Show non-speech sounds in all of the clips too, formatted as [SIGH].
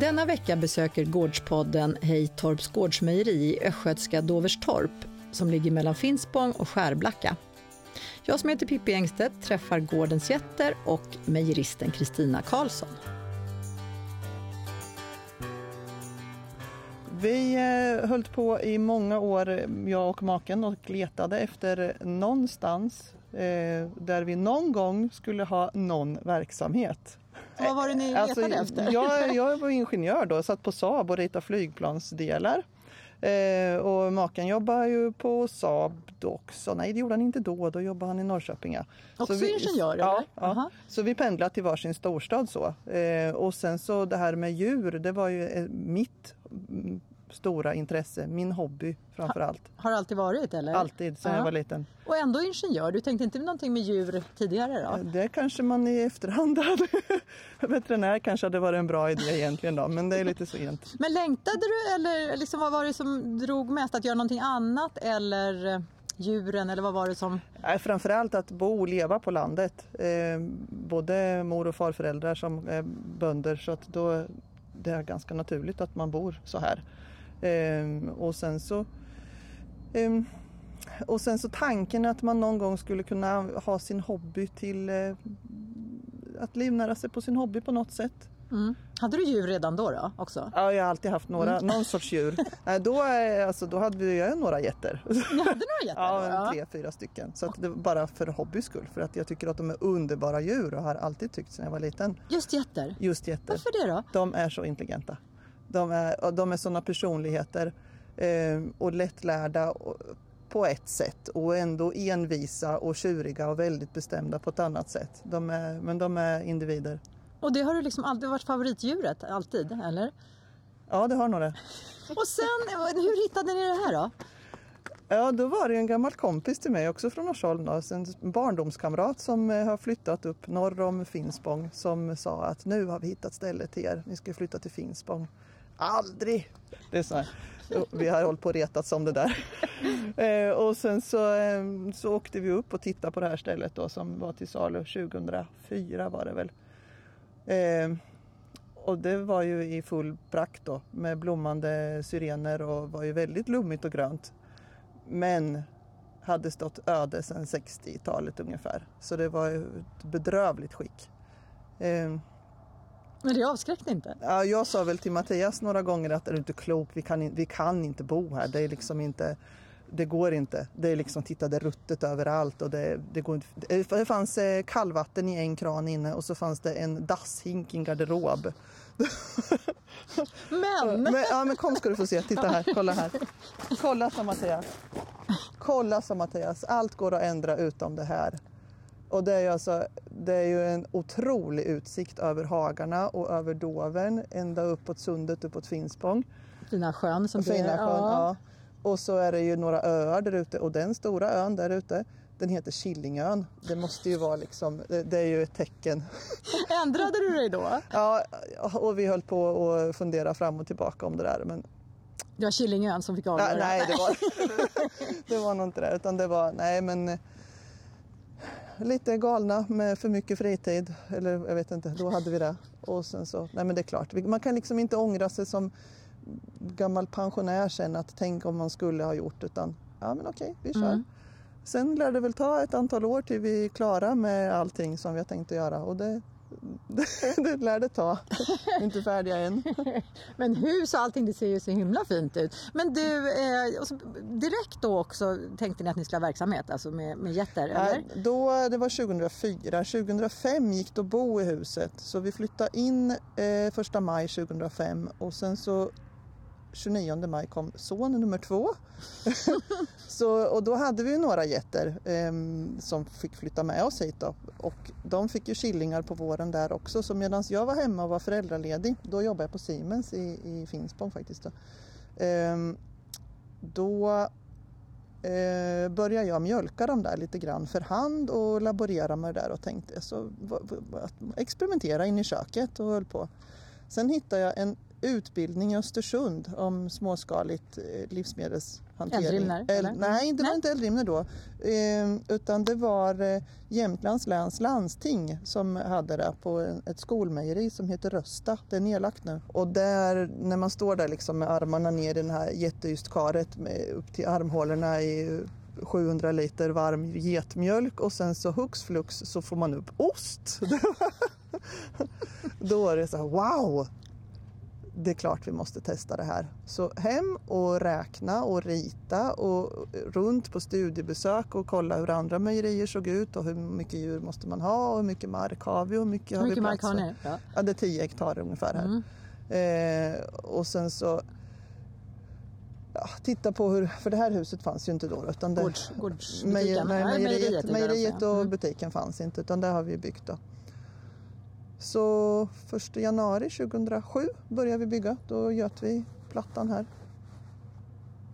Denna vecka besöker Gårdspodden Hejtorps gårdsmejeri i östgötska Doverstorp som ligger mellan Finspång och Skärblacka. Jag som heter Pippi Engstedt träffar gårdens jätter och mejeristen Kristina Karlsson. Vi eh, höll på i många år, eh, jag och maken, och letade efter någonstans eh, där vi någon gång skulle ha någon verksamhet. Vad var det ni Alltså, letade efter? [LAUGHS] jag, jag var ingenjör då, satt på Saab och ritade flygplansdelar. Eh, och maken jobbar ju på Saab då också. Nej, det gjorde han inte då. Då jobbade han i Norrköping. Ja. Också ingenjör, Ja, eller? ja. Aha. Så vi pendlade till varsin storstad så. Eh, och sen så det här med djur, det var ju eh, mitt mm, stora intresse, min hobby framför allt. Har alltid varit eller? Alltid sedan jag Ja. var liten. Och ändå ingenjör, du tänkte inte någonting med djur tidigare då? Det kanske man i efterhand hade... [LAUGHS] Veterinär kanske hade varit en bra idé egentligen då, men det är lite sent. Men längtade du eller liksom, vad var det som drog mest? Att göra någonting annat eller eh, djuren eller vad var det som... Nej, framförallt att bo och leva på landet. Eh, både mor och farföräldrar som är bönder så att då det är ganska naturligt att man bor så här. Eh, och sen så ehm, och sen så tanken att man någon gång skulle kunna ha sin hobby till eh, att livnära sig på sin hobby på något sätt. Mm. Hade du djur redan då, då också? Ja, jag har alltid haft några, någon sorts djur. Nej, då, eh, alltså, då hade jag några getter. Ni hade [LAUGHS] några getter? Ja, då? en tre, fyra stycken. Så att det var bara för hobbys skull. För att jag tycker att de är underbara djur och har alltid tyckt sedan jag var liten. Just getter? Just getter. Varför det då? De är så intelligenta. De är, och de är sådana personligheter eh, och lättlärda och, på ett sätt och ändå envisa och tjuriga och väldigt bestämda på ett annat sätt. De är, men de är individer. Och det har du liksom alltid varit favoritdjuret, alltid, eller? Ja, det har några. Och sen, eh, hur hittade ni det här då? Ja, då var det ju en gammal kompis till mig också från Norsholm, då, en barndomskamrat som eh, har flyttat upp norr om Finspång som sa att nu har vi hittat stället till er, ni ska flytta till Finspång. Aldrig! Det är så här. Och Vi har hållit på och retats om det där. [LAUGHS] Eh, Och sen så, eh, så åkte vi upp och tittade på det här stället då som var till salu 2004 var det väl. Eh, och det var ju i full prakt då med blommande syrener och var ju väldigt lummigt och grönt. Men hade stått öde sedan 60-talet ungefär. Så det var ju ett bedrövligt skick. Eh, Men det avskräckte inte? ja, jag sa väl till Mattias några gånger att är du inte klok, vi kan, in- vi kan inte bo här. Det är liksom inte, det går inte. Det är liksom, titta det är ruttet överallt och det, det går inte. Det det fanns eh, kallvatten i en kran inne och så fanns det en dasshink i en garderob. Men! Men, ja, men kom ska du få se. Titta här, kolla här. Kolla sa Mattias. Kolla sa Mattias. Allt går att ändra utom det här. Och det är, ju alltså, det är ju en otrolig utsikt över hagarna och över Dovern, ända uppåt sundet, uppåt Finspång. Fina sjön som Och det är. Finasjön, ja. Och så är det ju några öar där ute och den stora ön där ute, den heter Killingön. Det måste ju vara liksom, det, det är ju ett tecken. Ändrade du dig då? Ja, och vi höll på att fundera fram och tillbaka om det där, men Det var Killingön som fick avgöra. Nej, nej det, var, [LAUGHS] det var nog inte det. Utan det var, nej men eh, lite galna med för mycket fritid. Eller jag vet inte, då hade vi det. Och sen så, nej men det är klart. Vi- Man kan liksom inte ångra sig som gammal pensionär sen att tänk om man skulle ha gjort. Utan ja men okej, vi kör. Mm. Sen lär det väl ta ett antal år till vi är klara med allting som vi har tänkt att göra. Och det, [LAUGHS] det, det lär det ta. Vi är inte färdiga än. Men hus och allting, det ser ju så himla fint ut. Men du, eh, och så direkt då också tänkte ni att ni skulle ha verksamhet, alltså med, med getter, eller? Nej, då, det var 2004. 2005 gick det att bo i huset. Så vi flyttade in eh, första maj 2005 och sen så 29 maj kom son nummer två. så, och då hade vi ju några getter ehm, som fick flytta med oss hit. Då. Och de fick ju killingar på våren där också. Så medan jag var hemma och var föräldraledig, då jobbade jag på Siemens i, i Finspång faktiskt. Då, ehm, då eh, började jag mjölka dem där lite grann för hand och laborera med det där och tänkte så, va- va- att experimentera in i köket och höll på. Sen hittade jag en utbildning i Östersund om småskaligt eh, livsmedelshantering. Eldrimner, eller? nej, det var Nej. inte Eldrimner då. Eh, utan det var eh, Jämtlands läns landsting som hade det på en, ett skolmejeri som heter Rösta. Det är nedlagt nu. Och där, när man står där liksom med armarna ner i den här jätteystkaret med, upp till armhålorna i 700 liter varm getmjölk och sen så hux flux så får man upp ost. [LAUGHS] Då är det så här, wow! Det är klart vi måste testa det här. Så hem och räkna och rita och runt på studiebesök och kolla hur andra mejerier såg ut och hur mycket djur måste man ha och hur mycket mark har vi och hur mycket har Hur mycket vi mark plats har för. ni? Ja. Ja, det är 10 hektar ungefär här. Mm. Eh, och sen så ja, titta på hur, för det här huset fanns ju inte då. Utan det, Gårds, gårdsbutiken? Mejer, nej, Nej, mejeriet, Mm. är alltså. där mejeriet uppe, och ja. butiken fanns inte utan det har vi byggt då. Så 1 januari 2007 började vi bygga. Då göt vi plattan här.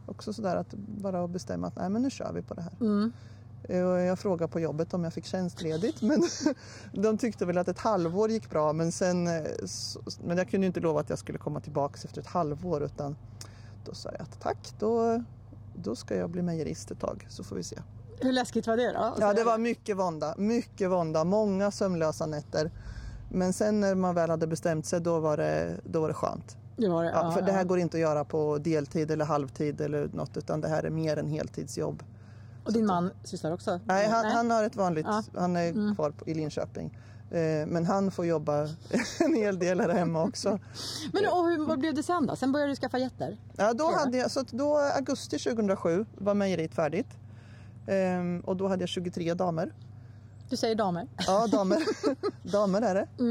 Också sådär att bara att bestämma att nej men nu kör vi på det här. Mm. Eh, och Jag frågade på jobbet om jag fick tjänstledigt men [LAUGHS] de tyckte väl att ett halvår gick bra men sen eh, så- men jag kunde ju inte lova att jag skulle komma tillbaks efter ett halvår utan då sa jag att tack då, då ska jag bli mejerist ett tag så får vi se. Hur läskigt var det då? Och så- Ja, det var mycket vånda, mycket vånda, många sömnlösa nätter. Men sen när man väl hade bestämt sig, då var det, då var det skönt. det var det. Ja, ja, för det ja. här går inte att göra på deltid eller halvtid eller något, utan det här är mer en heltidsjobb. Och din man sysslar också? Nej, han, han har ett vanligt, Ja. Mm. han är kvar på, i Linköping. Eh, Men han får jobba [LAUGHS] en hel del här hemma också. Men och hur, vad blev det sen då? Sen började du skaffa getter? Ja, då Ja. hade jag, så att då, augusti 2007 var mejeriet färdigt. Ehm, och då hade jag 23 damer. Du säger damer. Ja, damer. [LAUGHS] damer är det.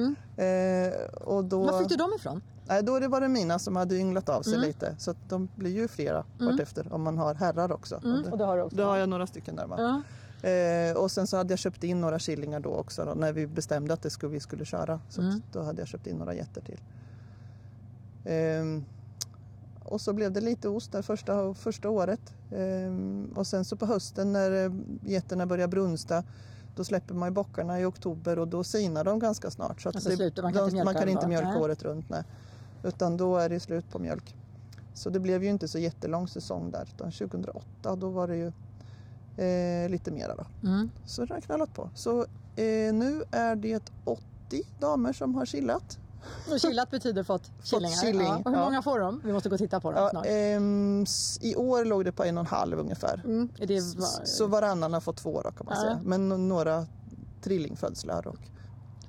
Eh, och då... Var Mm. fick du Mm. dem ifrån? Nej, då det var det mina som hade ynglat av sig lite. Så att de blir ju flera Mm. vartefter om man har herrar också. Och det- Och det har du också? Då har jag några stycken där. va? Ja. Eh, och sen så hade jag köpt in några killingar då också då, när vi bestämde att det skulle, vi skulle köra. Så Mm. att då hade jag köpt in några getter till. Ehm, och så blev det lite ost där första, första året. Ehm, och sen så på hösten när eh, getterna börjar brunsta då släpper man ju bockarna i oktober och då sinar de ganska snart. Så att Alltså slutar- man kan inte man kan mjölka dem inte då? mjölka Nej. året runt. Nej. Utan då är det ju slut på mjölk. Så det blev ju inte så jättelång säsong där. Utan 2008 då var det ju eh, lite mera då. Mm. Så det har knallat på. Så eh, nu är det 80 damer som har chillat. Och killat betyder fått killingar? killing, Ja. Och hur ja. många får de? Vi måste gå och titta på dem Ja, snart. ehm, s- I år låg det på en och en halv ungefär. Mm. Är det S- var... Så varannan har fått två då kan man Ja. säga. Men no- några trillingfödslar. Och...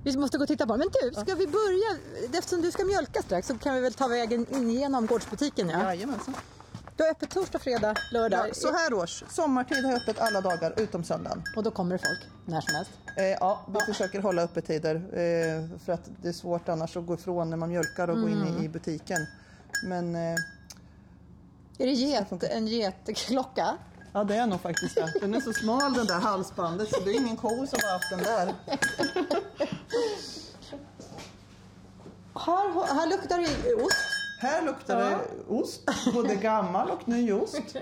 Vi måste gå och titta på dem. Men du, ska vi börja? Eftersom du ska mjölka strax så kan vi väl ta vägen in genom gårdsbutiken? Ja. Jajamensan. Du har öppet torsdag, fredag, lördag. Ja, så här års, sommartid har jag öppet alla dagar utom söndagen. Och då kommer det folk när som helst. Eh, ja, vi försöker hålla öppettider eh, för att det är svårt annars att gå ifrån när man mjölkar och gå Mm. in i, i butiken. Men eh, Är det get, en getklocka? ja, det är nog faktiskt det. Den är så smal den där halsbandet så det är ingen ko som har haft den där. Här, här luktar det ost. Här luktar det ost, både gammal och ny ost.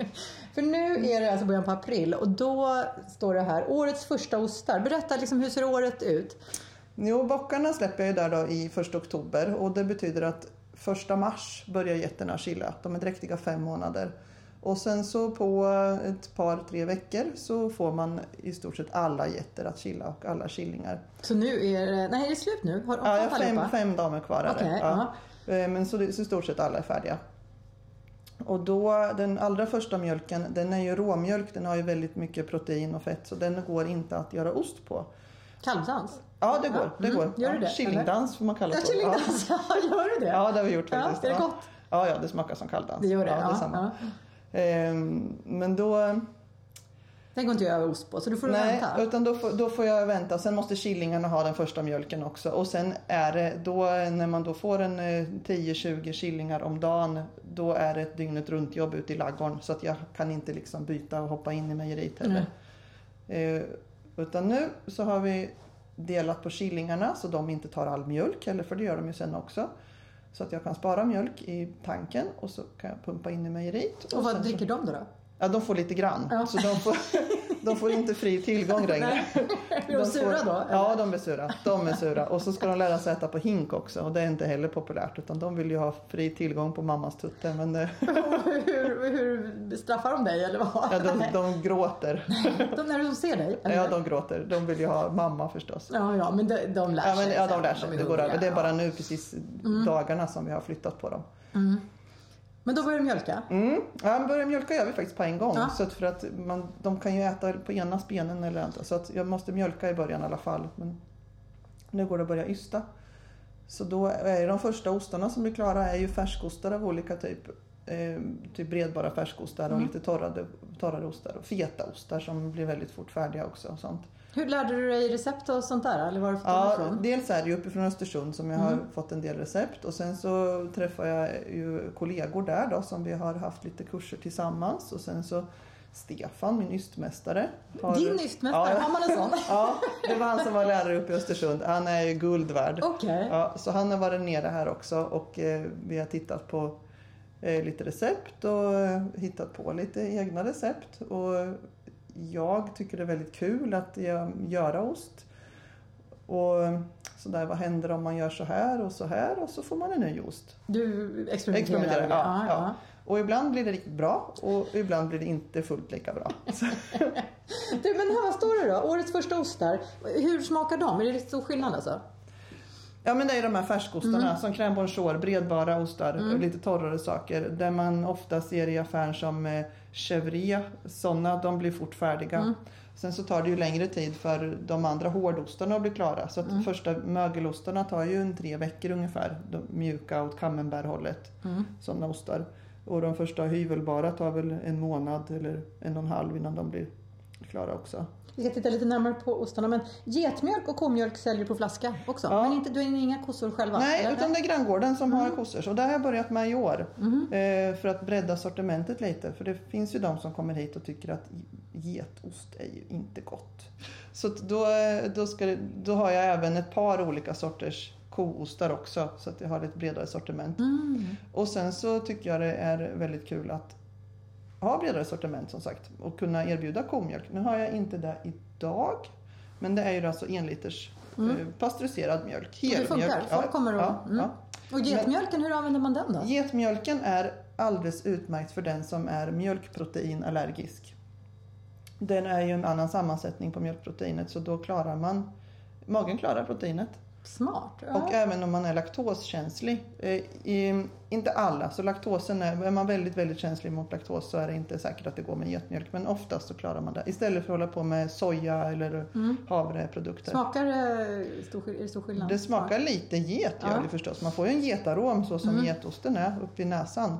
För nu är det alltså början på april och då står det här årets första ostar. Berätta liksom hur ser året ut? Jo, bockarna släpper jag ju där då i 1 oktober och det betyder att 1 mars börjar getterna chilla. De är dräktiga fem månader. Och sen så på ett par, tre veckor så får man i stort sett alla getter att chilla och alla killingar. Så nu är det... Nej, är det slut nu? Har Ja, jag har har fem, allihopa? fem damer kvar är det. Okej, ja. Eh, Men så, det- så i stort sett alla är färdiga. Och då, den allra första mjölken, den är ju råmjölk, den har ju väldigt mycket protein och fett så den går inte att göra ost på. Kalvdans? Ja, det går. Det Mm, går. gör det ja, det, Chillingdans får man kalla Ja, det för. kyllingdans. [LAUGHS] Ja, gör du det? Ja, det har vi gjort Ja, faktiskt. är det Ja. gott? Ja, ja, det smakar som kalldans. Det gör det. Ja, det är ja, samma. ja. Ehm, men då... Den går inte att göra ost på, så du får Nej, vänta. utan då får, då får jag vänta. Sen måste killingarna ha den första mjölken också. Och sen är det då när man då får en eh, 10-20 killingar om dagen. Då är det ett dygnet runt jobb ute i laggården. Så att jag kan inte liksom byta och hoppa in i mejeriet heller. Eh, utan nu så har vi delat på killingarna så de inte tar all mjölk. Eller för det gör de ju sen också. Så att jag kan spara mjölk i tanken och så kan jag pumpa in i mejeriet. Och sen vad så- dricker de då? [LAUGHS] då? Ja, de får lite grann. [LAUGHS] Ja. Så de, får, De får inte fri tillgång längre. Blir de sura får, då? eller? Ja, de blir sura. De är sura. Och så ska de lära sig äta på hink också och det är inte heller populärt utan de vill ju ha fri tillgång på mammas tutte men eh, hur, hur straffar de dig eller vad? ja, [LAUGHS] de, de gråter. De när de ser dig? eller? Ja, de gråter. De vill ju ha mamma förstås. ja, ja, men de, de lär Ja, men, sig. ja sen. de lär sig. är Mm. Det går över. hungriga, Det är ja. bara nu precis dagarna som vi har flyttat på dem. Men då börjar de mjölka? Mm. Ja, men börja mjölka gör vi faktiskt på en gång. Ja. Så att för att man, de kan ju äta på ena spenen eller andra. Så att jag måste mjölka i början i alla fall. Men nu går det att börja ysta. Så då är ju de första ostarna som blir klara är ju färskostar av olika typ. Eh, typ bredbara färskostar och lite torrade, torrare ostar. Och fetaostar som blir väldigt fort färdiga också. Och sånt. Hur lärde du dig recept och sånt där? Eller Mm. var du fått dem Ja, ifrån? dels är det ju uppifrån Östersund som jag har fått en del recept och sen så träffar jag ju kollegor där då som vi har haft lite kurser tillsammans och sen så Stefan, min ystmästare. har- Din ystmästare, Ja, har man [LAUGHS] en sån? ja, det var han som var lärare uppe i Östersund. Han är ju guld värd. Okej. Ja, så han har varit nere här också och eh, vi har tittat på eh, lite recept och eh, hittat på lite egna recept. Och jag tycker det är väldigt kul att eh, göra ost. Och eh, sådär, vad händer om man gör så här och så här och så får man en ny ost. Du experimenterar? Experimenterar, med det. Mm, ja, ja. Och ibland blir det riktigt bra och ibland blir det inte fullt lika bra. Så, ja. Du, men här, vad står det då? Årets första ostar. Hur smakar de? Är det lite stor skillnad alltså? ja men det är ju de här färskostarna som crème bonjour, bredbara ostar och lite torrare saker. Där man ofta ser i affären som eh, chevria, sådana de blir fort färdiga. Sen så tar det ju längre tid för de andra hårdostarna att bli klara. Så att första mögelostarna tar ju en tre veckor ungefär. De mjuka åt camemberthållet. Sådana ostar. Och de första hyvelbara tar väl en månad eller en och en halv innan de blir klara också. Vi ska titta lite närmare på ostarna. Men getmjölk och komjölk säljer du på flaska också. Ja. Men inte, du har inga kossor själva? Nej, eller? Mm. utan det är granngården som har kossor. Och det har jag börjat med i år. Eh, för att bredda sortimentet lite. För det finns ju de som kommer hit och tycker att getost är ju inte gott. Så att då, eh, då, ska det, då har jag även ett par olika sorters koostar också. Så att jag har ett bredare sortiment. Mm. Och sen så tycker jag det är väldigt kul att ha bredare sortiment som sagt. Och kunna erbjuda komjölk. Nu har jag inte det idag. Men det är ju alltså enliters Mm. eh, pasteuriserad mjölk. det Helmjölk. funkar? Folk kommer och- ja, mm. ja. Och getmjölken, hur använder man den då? Getmjölken är alldeles utmärkt för den som är mjölkproteinallergisk. Den är ju en annan sammansättning på mjölkproteinet så då klarar man Magen klarar proteinet. Smart. Ja. Och eh, även om man är laktoskänslig. Eh, i, inte alla, så laktosen är, är man väldigt, väldigt känslig mot laktos så är det inte säkert att det går med getmjölk. Men oftast så klarar man det. Istället för att hålla på med soja eller Mm. havreprodukter. Smakar det stor, skill- är det stor skillnad? Det smakar lite get gör Ja. det förstås. Man får ju en getarom så som Mm. getosten är upp vid näsan.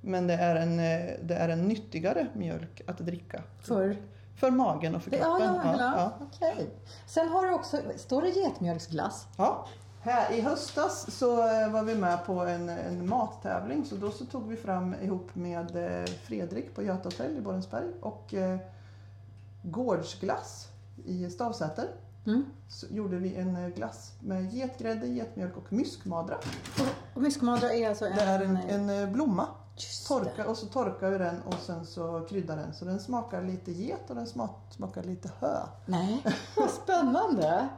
Men det är, en, eh, det är en nyttigare mjölk att dricka. För... För magen och för Det, ja, kroppen. ja, ja. ja. Okej. Sen har du också, står det getmjölksglass? Ja. Här i höstas så eh, var vi med på en, en mattävling så då så tog vi fram ihop med eh, Fredrik på Göta hotell i Borensberg och eh, gårdsglass i Stavsäter. Mm. Så gjorde vi en eh, glass med getgrädde, getmjölk och myskmadra. Och- Och myskomadra är alltså en... Det är en, en eh, blomma. Just det. Torka, och så torkar vi den och sen så kryddar den. Så den smakar lite get och den smak, smakar lite hö. [LAUGHS] Nej, vad spännande!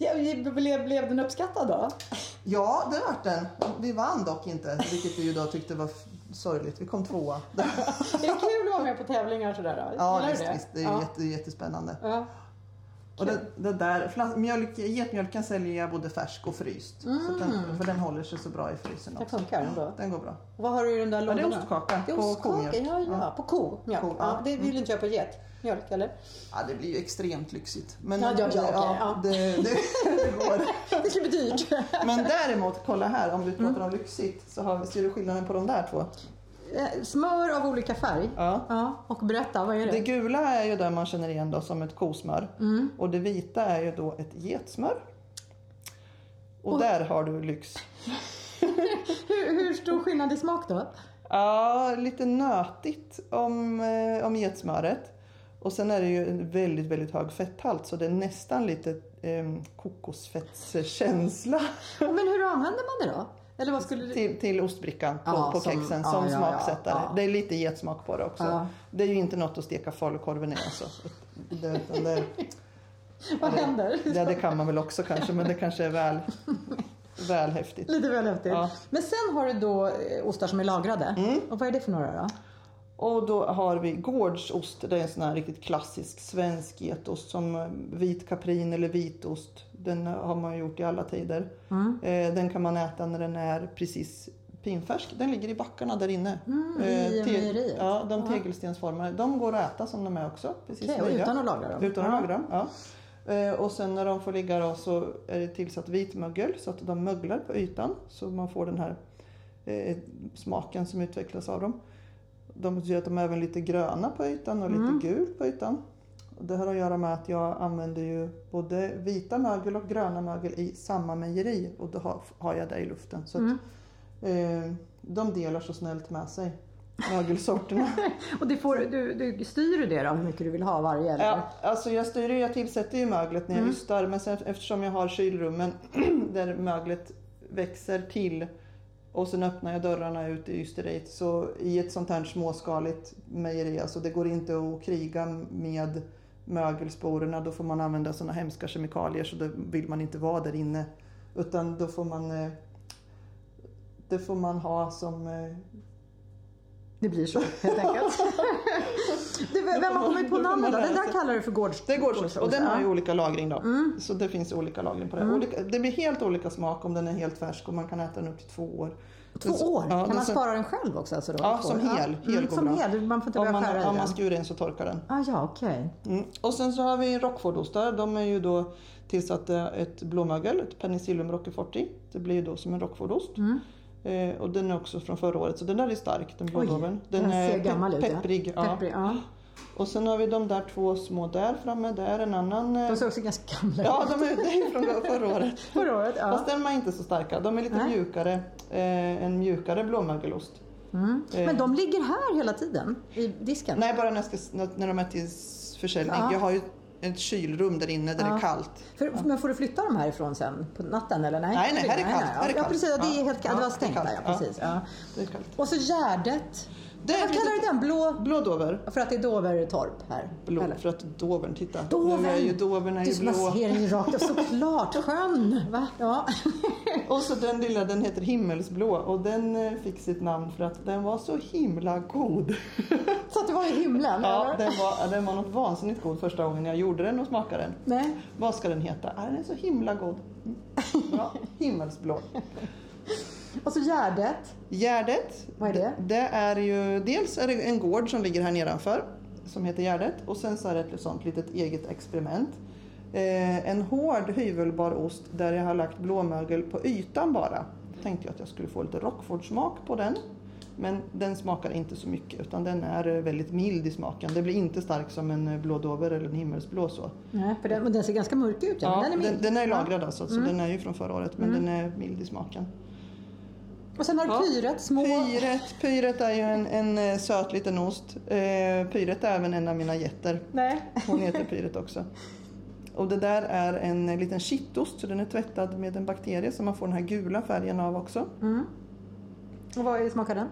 Ja, blev, blev den uppskattad då? Ja, det vart den. Vi vann dock inte, vilket vi ju då tyckte var f- sorgligt. Vi kom tvåa. Är det kul att vara med på tävlingar och sådär? Då? Ja, Gillar du visst, visst. Det är ju ja. jätte, jättespännande. Ja. Och det, det där, flas- mjölk, getmjölken säljer jag både färsk och fryst. Så att den, för den håller sig så bra i frysen Mm. Det också. funkar ändå. Den går bra. Vad har du i de där Ja, det lådorna? är ostkaka Det är på ostkaka, komjölk. ja, ja. Ja. På komjölk. Ko, ja. ja. Mm. Det vill inte jag på getmjölk, eller? [LAUGHS] Ja, det blir ju extremt lyxigt. Men Ja, ja, ja, okej, ja. det, det, det [LAUGHS] går. Det skulle [LAUGHS] bli dyrt. Men däremot, kolla här, om vi pratar Mm. om lyxigt så har, ser du skillnaden på de där två? Eh, Smör av olika färg. Ja. Ja, och berätta, vad är det? Det gula är ju det man känner igen då som ett kosmör Mm. och det vita är ju då ett getsmör. Och där har du lyx. [LAUGHS] Hur, hur stor skillnad i smak då? Ja, lite nötigt om, eh, om getsmöret. Och sen är det ju en väldigt, väldigt hög fetthalt så det är nästan lite eh, kokosfettskänsla. [LAUGHS] Men hur använder man det då? Eller vad skulle du... till, till ostbrickan på, Ja, på som- kexen ja, som ja, ja, smaksättare. ja. Det är lite getsmak på det också. Ja. Det är ju inte något att steka falukorven i alltså. [LAUGHS] Det, utan det, Vad händer? det, det kan man väl också kanske, men det kanske är väl, väl häftigt. [LAUGHS] Lite väl häftigt. Ja. Mm. Men sen har du då eh, ostar som är lagrade. Och vad är det för några då? Och då har vi gårdsost. Det är en sån här riktigt klassisk svensk getost som eh, vit kaprin eller vitost. Den har man gjort i alla tider. Mm. Eh, Den kan man äta när den är precis pinfärsk. Den ligger i backarna där inne. Mm, i Eh, te- mejeriet. Ja, de tegelstensformade. De går att äta som de är också. Precis Okej, och nya. utan att lagra dem? Utan att Ja. lagra dem, ja. Eh, Och sen när de får ligga då så är det tillsatt vitmögel så att de möglar på ytan så man får den här eh, smaken som utvecklas av dem. De gör att de är även lite gröna på ytan och lite Mm. gult på ytan. Och det har att göra med att jag använder ju både vita mögel och gröna mögel i samma mejeri och då har, har jag det i luften. Så att, Mm. eh, de delar så snällt med sig [LAUGHS] mögelsorterna. Och det får, du, du, styr du det då, hur mycket du vill ha varje? Eller? Ja, alltså jag styr ju, jag tillsätter ju möglet när jag ystar men sen, eftersom jag har kylrummen [CLEARS THROAT] där möglet växer till och sen öppnar jag dörrarna ut i ysteriet så i ett sånt här småskaligt mejeri, alltså det går inte att kriga med mögelsporerna, då får man använda såna hemska kemikalier så det vill man inte vara där inne. Utan då får man, eh, det får man ha som eh, Det blir så helt [LAUGHS] enkelt. du, vem har kommit på Då får man namnet då? Den lära sig. där kallar du för gårds... Det är gårdsost och den ja. har ju olika lagring då. Mm. Så det finns olika lagring på det. Olika, det blir helt olika smak om den är helt färsk och man kan äta den upp till två år. Två år? Ja, kan den man som- spara den själv också? Alltså då, Ja, Två som år. hel. Ja. hel Mm, går som bra. hel, man får inte om börja man, skära i om den. man skurar in så torkar den. Ah, ja, okej. Mm. Och sen så har vi Rockfordostar. De är ju då tillsatta ett blåmögel, ett Penicillium roqueforti. Det blir ju då som en Rockfordost. Mm. Eh, och den är också från förra året så den där är stark, den blåbären. den ser pe- gammal ut, ja. pepprig. Ja. Pepprig, ja. Och sen har vi de där två små där framme. Där en annan. eh, De ser också ganska gamla ut. Ja, de är, det är från förra året. Förra året, ja. Fast de är inte så starka. De är lite Nej. mjukare. Eh, en mjukare blåmögelost. Mm. Men de ligger här hela tiden i disken? Nej, bara när, jag ska, när- när de är till s- försäljning. Ja. Jag har ju ett kylrum där inne där det Ja. är kallt. För, Men får du flytta dem härifrån sen på natten eller? Nej, Nej, nej, här är kallt, här är ja, kallt. precis. Ja, det är Ja. helt kallt. Ja, Det var det är stängt där, kallt. ja. Ja. Precis, ja. Det är kallt. Och så Gärdet. Det är Vad kallar du precis- den? Blå? Blådover. För att det är Dovertorp här? Blå, eller? för att dovern, titta. Dovern! Nu är ju dovern är Du ju som blå. bara ser den ju rakt av. Såklart! Sjön! Va? Ja. Och så den lilla, den heter himmelsblå och den eh, fick sitt namn för att den var så himla god. [LAUGHS] Så att det var i himlen? Ja, eller? den var, den var något vansinnigt god första gången jag gjorde den och smakade den. Nej. Vad ska den heta? Ah, den är så himla god. Mm. Ja, himmelsblå. Och så Gärdet. Gärdet. Vad är det? Det är ju, dels är det en gård som ligger här nedanför som heter Gärdet och sen så är det ett sånt litet eget experiment. Eh, en hård hyvvelbar ost där jag har lagt blåmögel på ytan bara. Tänkte jag att jag skulle få lite Rockford-smak på den. Men den smakar inte så mycket utan den är eh, väldigt mild i smaken. Det blir inte stark som en eh, blå dover eller en himmelsblå så. Nej, för den, men den ser ganska mörk ut. Ja. Mm. men den är mild. den, den är lagrad alltså, så den är ju från förra året men den är mild i smaken. Och sen har du Ja. Pyret, små... Pyret, pyret är ju en, en eh, söt liten ost. Eh, pyret är även en av mina getter. Nej. Hon heter Pyret också. Och det där är en eh, liten kittost, så den är tvättad med en bakterie som man får den här gula färgen av också. Och vad smakar den?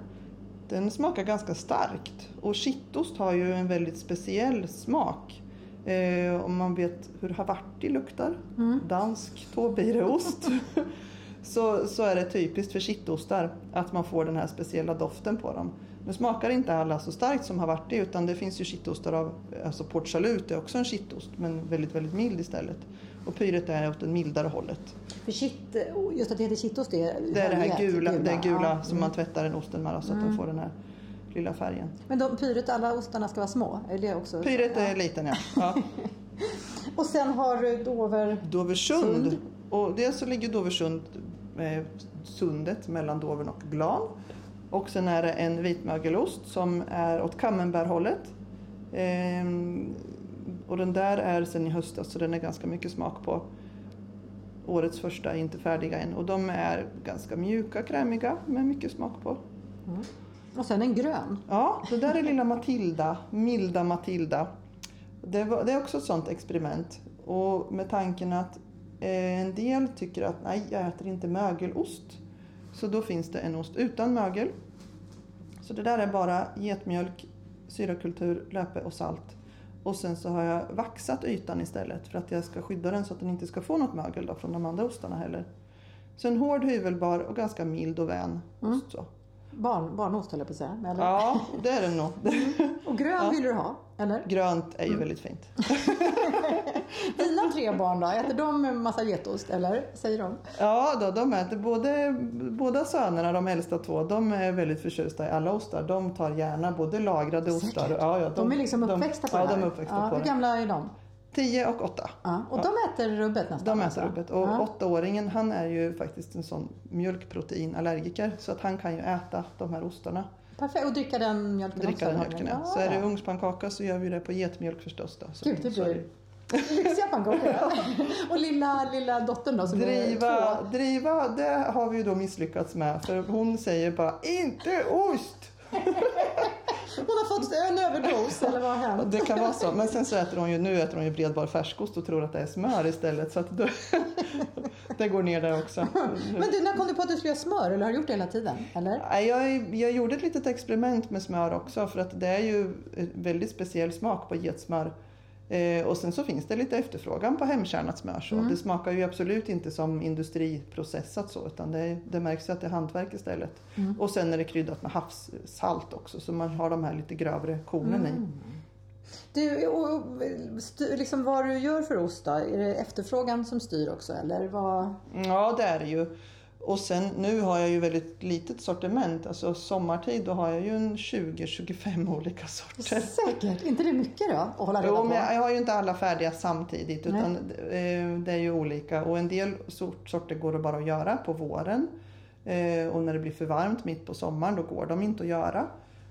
Den smakar ganska starkt och kittost har ju en väldigt speciell smak. Eh, om man vet hur havarti luktar, dansk tvåbireost, [LAUGHS] så, så är det typiskt för kittostar att man får den här speciella doften på dem. Nu smakar inte alla så starkt som havarti utan det finns ju kittostar av, alltså port salut är också en kittost men väldigt, väldigt mild istället. Och pyret är åt det mildare hållet. För kitt, just att det heter kittost, det Det är är Mm. det här härlighet, gula, det är gula ja. som man tvättar den osten med då, så att den får den här lilla färgen. Men de, pyret, alla ostarna ska vara små? Är det också? Pyret är liten ja. [LAUGHS] ja. Och sen har du Dover... Doversund. Och dels så ligger Doversund, eh, sundet mellan Dovern och Glan. Och sen är det en vitmögelost som är åt kammenbärhållet. Ehm, och den där är sen i höstas så den är ganska mycket smak på. Årets första är inte färdiga än och de är ganska mjuka, krämiga med mycket smak på. Och sen en grön. Ja, det där är lilla Matilda, milda Matilda. Det, var, det är också ett sånt experiment. Och med tanken att eh, en del tycker att nej, jag äter inte mögelost. Så då finns det en ost utan mögel. Så det där är bara getmjölk, syrakultur, löpe och salt. Och sen så har jag vaxat ytan istället för att jag ska skydda den så att den inte ska få något mögel då från de andra ostarna heller. Så en hård, hyvelbar och ganska mild och vän Mm. ost. Så. Barn, barnost höll jag på att säga. Eller? Ja, det är den nog. Och grön Ja. vill du ha, eller? Grönt är ju Mm. väldigt fint. Dina tre barn då, äter de en massa getost, eller? Säger de? Ja, då, de äter både, båda sönerna, de äldsta två, de är väldigt förtjusta i alla ostar. De tar gärna både lagrade Säkert. ostar ja, ja, De är liksom uppväxta på ja, det här. de är uppväxta ja, på Hur det. gamla är de? 10 och 8. Ja. Och de äter rubbet nästan? De alltså. äter rubbet. Och ja. åttaåringen han är ju faktiskt en sån mjölkproteinallergiker så att han kan ju äta de här ostarna. Perfekt, och dricka den mjölken Dricka också? den mjölken. Ja. Ja. Så är det ugnspannkaka så gör vi det på getmjölk förstås. Då. Så, Gud, det så är blir lyxiga pannkakor. ja. Och lilla, lilla dottern då som är Driva, två. driva, det har vi ju då misslyckats med för hon säger bara inte ost! Hon har fått en överdos, eller vad har hänt? Det kan vara så. Men sen så äter hon ju, nu äter hon ju bredbar färskost och tror att det är smör istället. Så att då, [LAUGHS] det går ner där också. Men du, när kom du på att du skulle göra smör? Eller har du gjort det hela tiden? Eller? Nej, Jag, jag gjorde ett litet experiment med smör också för att det är ju en väldigt speciell smak på getsmör. Eh, och sen så finns det lite efterfrågan på hemkärnat smör. Så Det smakar ju absolut inte som industriprocessat så utan det, det märks ju att det är hantverk istället. Och sen är det kryddat med havssalt också så man har de här lite grövre kornen i. Du, och, och, styr, liksom vad du gör för ost då? Är det efterfrågan som styr också? Eller vad? Ja, det är det ju. Och sen nu har jag ju väldigt litet sortiment. Alltså sommartid då har jag ju en 20-25 olika sorter. Säkert, inte det mycket då? Att hålla reda Jo, på? men jag har ju inte alla färdiga samtidigt utan eh, det är ju olika. Och en del sort, sorter går det bara att göra på våren. Eh, Och när det blir för varmt mitt på sommaren då går de inte att göra.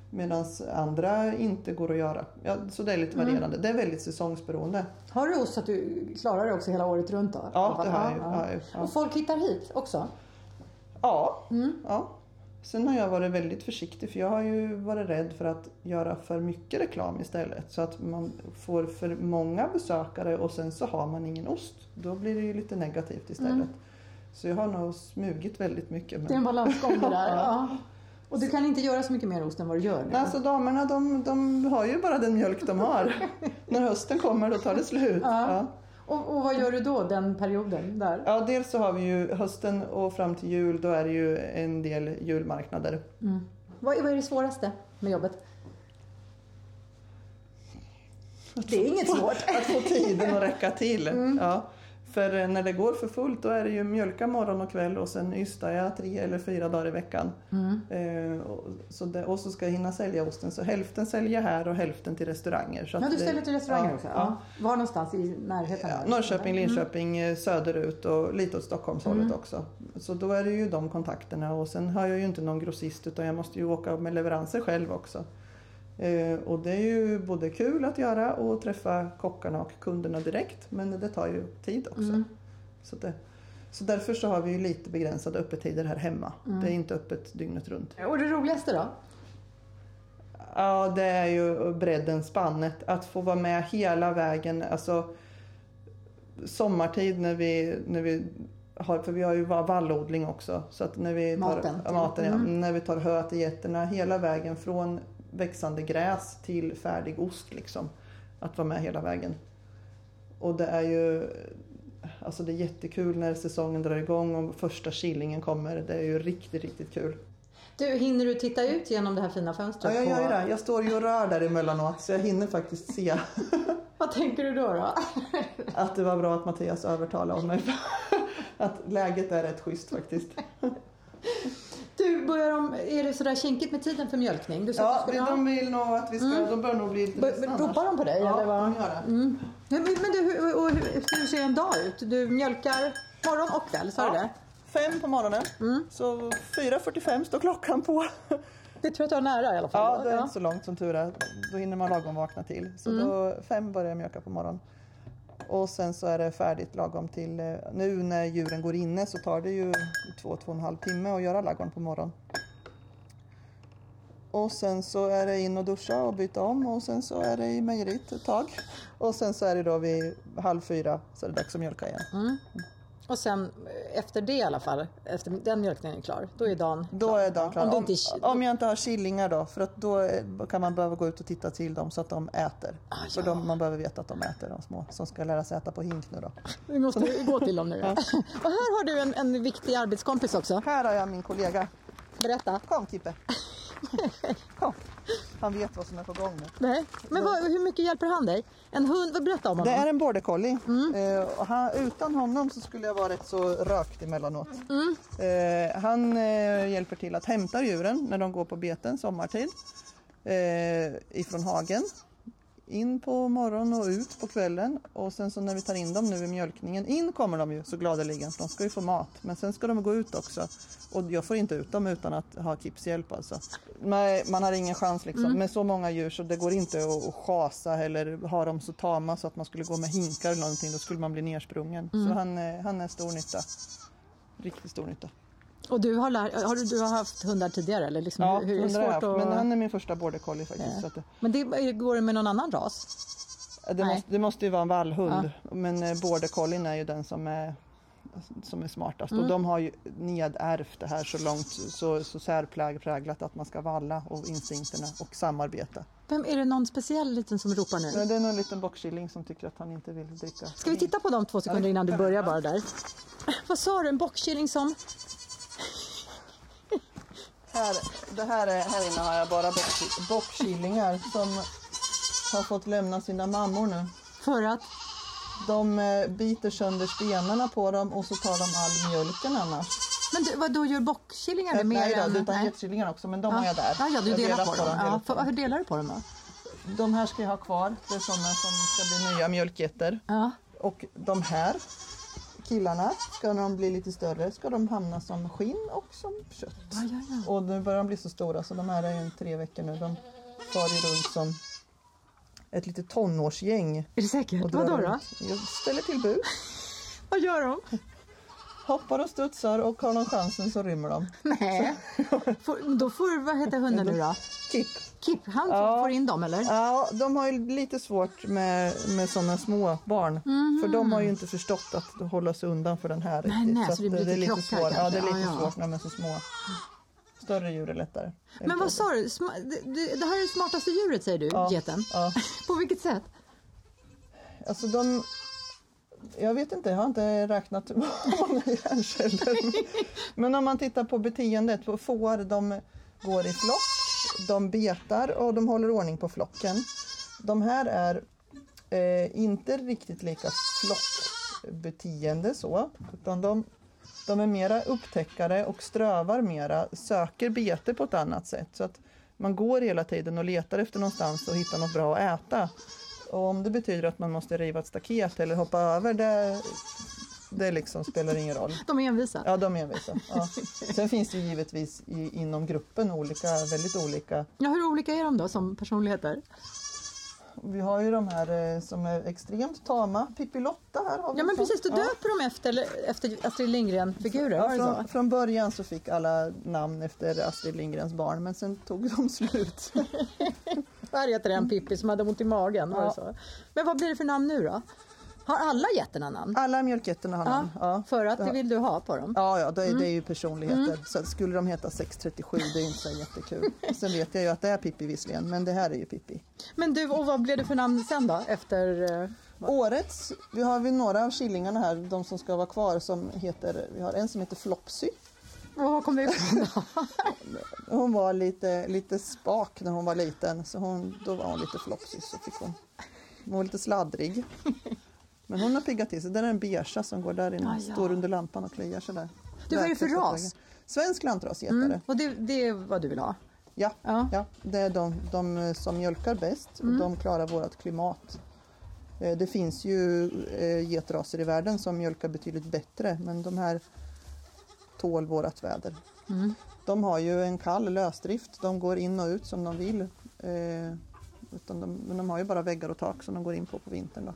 Medan andra inte går att göra. Ja, så det är lite varierande. Det är väldigt säsongsberoende. Har du ost så att du klarar det också hela året runt då? I alla Ja, fall. det har jag ju. Ja, har jag ju. Ja. Och folk hittar hit också? Ja. ja. Sen har jag varit väldigt försiktig för jag har ju varit rädd för att göra för mycket reklam istället. Så att man får för många besökare och sen så har man ingen ost. Då blir det ju lite negativt istället. Så jag har nog smugit väldigt mycket. Det är en Men... balansgång det där. [LAUGHS] Ja. ja. Och du kan inte göra så mycket mer ost än vad du gör nu? Nej, alltså damerna de, de har ju bara den mjölk de har. När hösten kommer då tar det slut. Ja. Ja. Och, och vad gör du då den perioden där? Ja, dels så har vi ju hösten och fram till jul då är det ju en del julmarknader. Vad, är- vad är det svåraste med jobbet? Det är inget svårt. att få tiden att räcka [LAUGHS] till. Mm. Ja. För eh, när det går för fullt då är det ju mjölka morgon och kväll och sen ystar jag tre eller fyra dagar i veckan. Mm. Eh, och, så det, och så ska jag hinna sälja osten. Så hälften säljer här och hälften till restauranger. Så Ja, att du det- ställer till restauranger ja, också? Ja. Ja. Var någonstans i närheten? Ja, där? Norrköping, Linköping, eh, söderut och lite åt Stockholmshållet också. Så då är det ju de kontakterna och sen har jag ju inte någon grossist utan jag måste ju åka med leveranser själv också. Eh, och det är ju både kul att göra och träffa kockarna och kunderna direkt men det tar ju tid också. Så, det, så därför så har vi ju lite begränsade öppettider här hemma. Det är inte öppet dygnet runt. Och det roligaste då? Ja, det är ju bredden, spannet. Att få vara med hela vägen. Alltså, sommartid när vi, när vi har, för vi har ju va- vallodling också. Så att när vi tar, Maten. Ja, maten ja. När vi tar hö till getterna hela vägen från växande gräs till färdig ost liksom. Att vara med hela vägen. Och det är ju alltså det är jättekul när säsongen drar igång och första killingen kommer. Det är ju riktigt, riktigt kul. Du, hinner du titta ut genom det här fina fönstret? Ja, jag på- gör ju det. Jag står ju och rör där emellanåt så jag hinner faktiskt [LAUGHS] se Vad tänker du då? då? att det var bra att Mattias övertalade mig. [LAUGHS] Att läget är rätt schysst faktiskt. Du, börjar om, är det sådär kinkigt med tiden för mjölkning? Du sa att Ja, du skulle ha- Mm. de vill nog att vi ska, de bör nog bli lite Bör- ledsna ropar annars. de på dig, Ja, eller vad? de gör det. Mm. Men, men men du, hur, och hur, hur ser en dag ut? Du mjölkar morgon och kväll, sa du Ja. det? Mm. Fem på morgonen, så 4.45 står klockan på. Det tror jag att du har nära i alla fall. Ja, det är inte så långt som tur är. Då hinner man lagom vakna till. Så då, fem börjar jag mjölka på morgonen. Och sen så är det färdigt lagom till, eh, nu när djuren går inne så tar det ju två, två och en halv timme att göra ladugården på morgonen. Och sen så är det in och duscha och byta om och sen så är det i mejeriet ett tag. Och sen så är det då vid halv fyra så är det dags att mjölka igen. Och sen eh, efter det i alla fall, efter den mjölkningen är klar, då är dagen Då klar. är dagen klar. Om, Om, du om, inte, jag inte har killingar då, för att då eh, kan man behöva gå ut och titta till dem så att de äter. Ah, För de, man behöver veta att de äter, de små, som ska lära sig äta på hink nu då. Vi måste gå till dem nu. [LAUGHS] Och här har du en, en viktig arbetskompis också. Här har jag min kollega. Berätta. Kom [LAUGHS] Kippe! Kom! Han vet vad som är på gång nu. Nej. Men vad, hur mycket hjälper han dig? En hund? vad- Berätta om Det honom. är en border collie. Mm. Eh, och han, utan honom så skulle jag vara rätt så rökt emellanåt. Mm. Eh, han eh, hjälper till att hämta djuren när de går på beten sommartid. Eh, ifrån hagen. In på morgonen och ut på kvällen. Och sen så när vi tar in dem nu i mjölkningen. In kommer de ju så gladeligen för de ska ju få mat. Men sen ska de gå ut också. Och jag får inte ut dem utan att ha Kips hjälp alltså. Nej, man har ingen chans liksom. Mm. Med så många djur så det går inte att, att chasa eller ha dem så tama så att man skulle gå med hinkar eller någonting. Då skulle man bli nersprungen. Så Mm. han, eh, han är stor nytta. Riktigt stor nytta. Och du har, lär, har du, du har haft hundar tidigare? Eller liksom, Ja, hur, hur är det hundra har jag svårt haft. att... Men han är min första border collie faktiskt. Ja. Så att, Men det, går det med någon annan ras? eh, det, Nej. måste, det måste ju vara en vallhund. Men eh, border collien är ju den som är som är smartast Mm. och de har ju nedärvt det här så långt så, så särpräglat att man ska valla och instinkterna och samarbeta. Vem, är det någon speciell liten som ropar nu? Men det är nog en liten boxkilling som tycker att han inte vill dricka. Ska vi titta på dem två sekunder innan du börjar bara där? [LAUGHS] Vad sa du, en bockkilling som? Här, det här, är, här inne har jag bara bock- bockkillingar som har fått lämna sina mammor nu. För att? De eh, biter sönder stenarna på dem och så tar de all mjölken annars. Men du, vad då gör bockkillingar det mer Nej, än... då, utan nej. getkillingar också, men de har ja. jag där. Ja, ja, du Jag delar på dem. delar på ja, för, dem. hur delar du på dem då? De här ska jag ha kvar. Det är sådana som ska bli nya mjölkgetter. Ja. Och de här killarna, ska när de blir lite större, ska de hamna som skinn och som kött. Ja, ja, ja. Och nu börjar de bli så stora så de här är ju tre veckor nu. De far ju runt som ett litet tonårsgäng. Är det säkert? Och Vad då? drar då? runt. Jag ställer till bud, Vad gör [LAUGHS] de? hoppar och studsar och har de chansen så rymmer de. Nej. Får, då får, vad heter hunden nu då? Kipp. Kip, han Ja. får in dem eller? Ja, de har ju lite svårt med, med sådana små barn. För de har ju inte förstått att hålla sig undan för den här Mhm. Nej, riktigt. nej, att så det blir är lite lite krockar svårt. Ja, kanske. det är lite Ja, ja. svårt när de är så små. Större djur är lättare. Men vad sa du? Sma, det, det- det här är det smartaste djuret säger du, Ja. geten. [LAUGHS] Ja. På vilket sätt? Alltså de... Jag vet inte, jag har inte räknat [LAUGHS] hur många hjärnceller. Men om man tittar på beteendet, på får de går i flock, de betar och de håller ordning på flocken. De här är eh, inte riktigt lika flockbeteende så, utan de, de är mera upptäckare och strövar mera, söker bete på ett annat sätt. Så att man går hela tiden och letar efter någonstans och hittar något bra att äta. Och om det betyder att man måste riva ett staket eller hoppa över, det, det liksom spelar ingen roll. De är envisa. Ja, de är envisa. Ja. Sen finns det ju givetvis i, inom gruppen olika, väldigt olika. Ja, hur olika är de då som personligheter? Vi har ju de här eh, som är extremt tama. Pippilotta här har vi Ja men en sån. precis, du döper dem efter, eller- efter Astrid Lindgren-figurer, Ja, var det så? från, Alltså, från början så fick alla namn efter Astrid Lindgrens barn, men sen tog de [LAUGHS] slut. Här heter en Pippi som hade ont i magen, var det Mm. Ja. så? Men vad blir det för namn nu då? Har alla getterna namn? Alla mjölkgetterna har namn. Ja. För att det vill Mm. du ha på dem? Ja, ja det, är, det är ju personligheter. Så att skulle de heta 637, det är ju inte så [LAUGHS] jättekul. Sen vet jag ju att det är Pippi visserligen, men det här är ju Pippi. Men du, och vad blev det för namn sen då? Efter... eh, Årets, vi har vi några av killingarna här, de som ska vara kvar, som heter, vi har en som heter Flopsy. Och vad kom det ifrån [LAUGHS] då? Hon var lite, lite spak när hon var liten, så hon, då var hon lite flopsy. Så fick hon, hon var lite sladdrig. Men hon har piggat till sig. Där är en beiga som går där inne, Ah, ja. står under lampan och kliar sig där. Du, vad är det för Verkligen ras? Mm. fått vägen. Svensk lantras heter det. Och det, det är vad du vill ha? Ja, Ja. ja. det är de, de eh, som mjölkar bäst och de klarar vårt klimat. Eh, Det finns ju eh, getraser i världen som mjölkar betydligt bättre men de här tål vårt väder. De har ju en kall lösdrift, de går in och ut som de vill. Eh, utan de, men de har ju bara väggar och tak som de går in på på vintern. Då.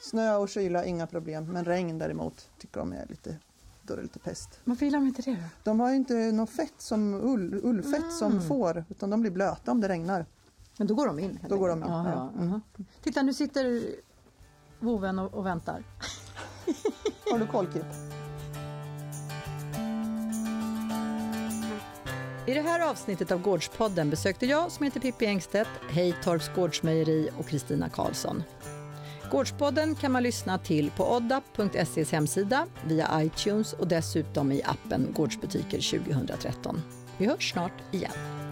Snö och kyla, inga problem, men regn däremot tycker de är lite, då är det lite pest. Varför gillar de inte det då? De har ju inte något fett som ull, ullfett som får utan de blir blöta om det regnar. Men då går de in? helt Då går enkelt. de in, Ja, ja. Mm. ja, aha. Titta, nu sitter voven och, och väntar. Har du koll Kip? I det här avsnittet av Gårdspodden besökte jag, som heter Pippi Engstedt, Hejtorps Gårdsmejeri och Kristina Karlsson. Gårdspodden kan man lyssna till på odda.ses hemsida, via iTunes och dessutom i appen Gårdsbutiker 2013. Vi hörs snart igen.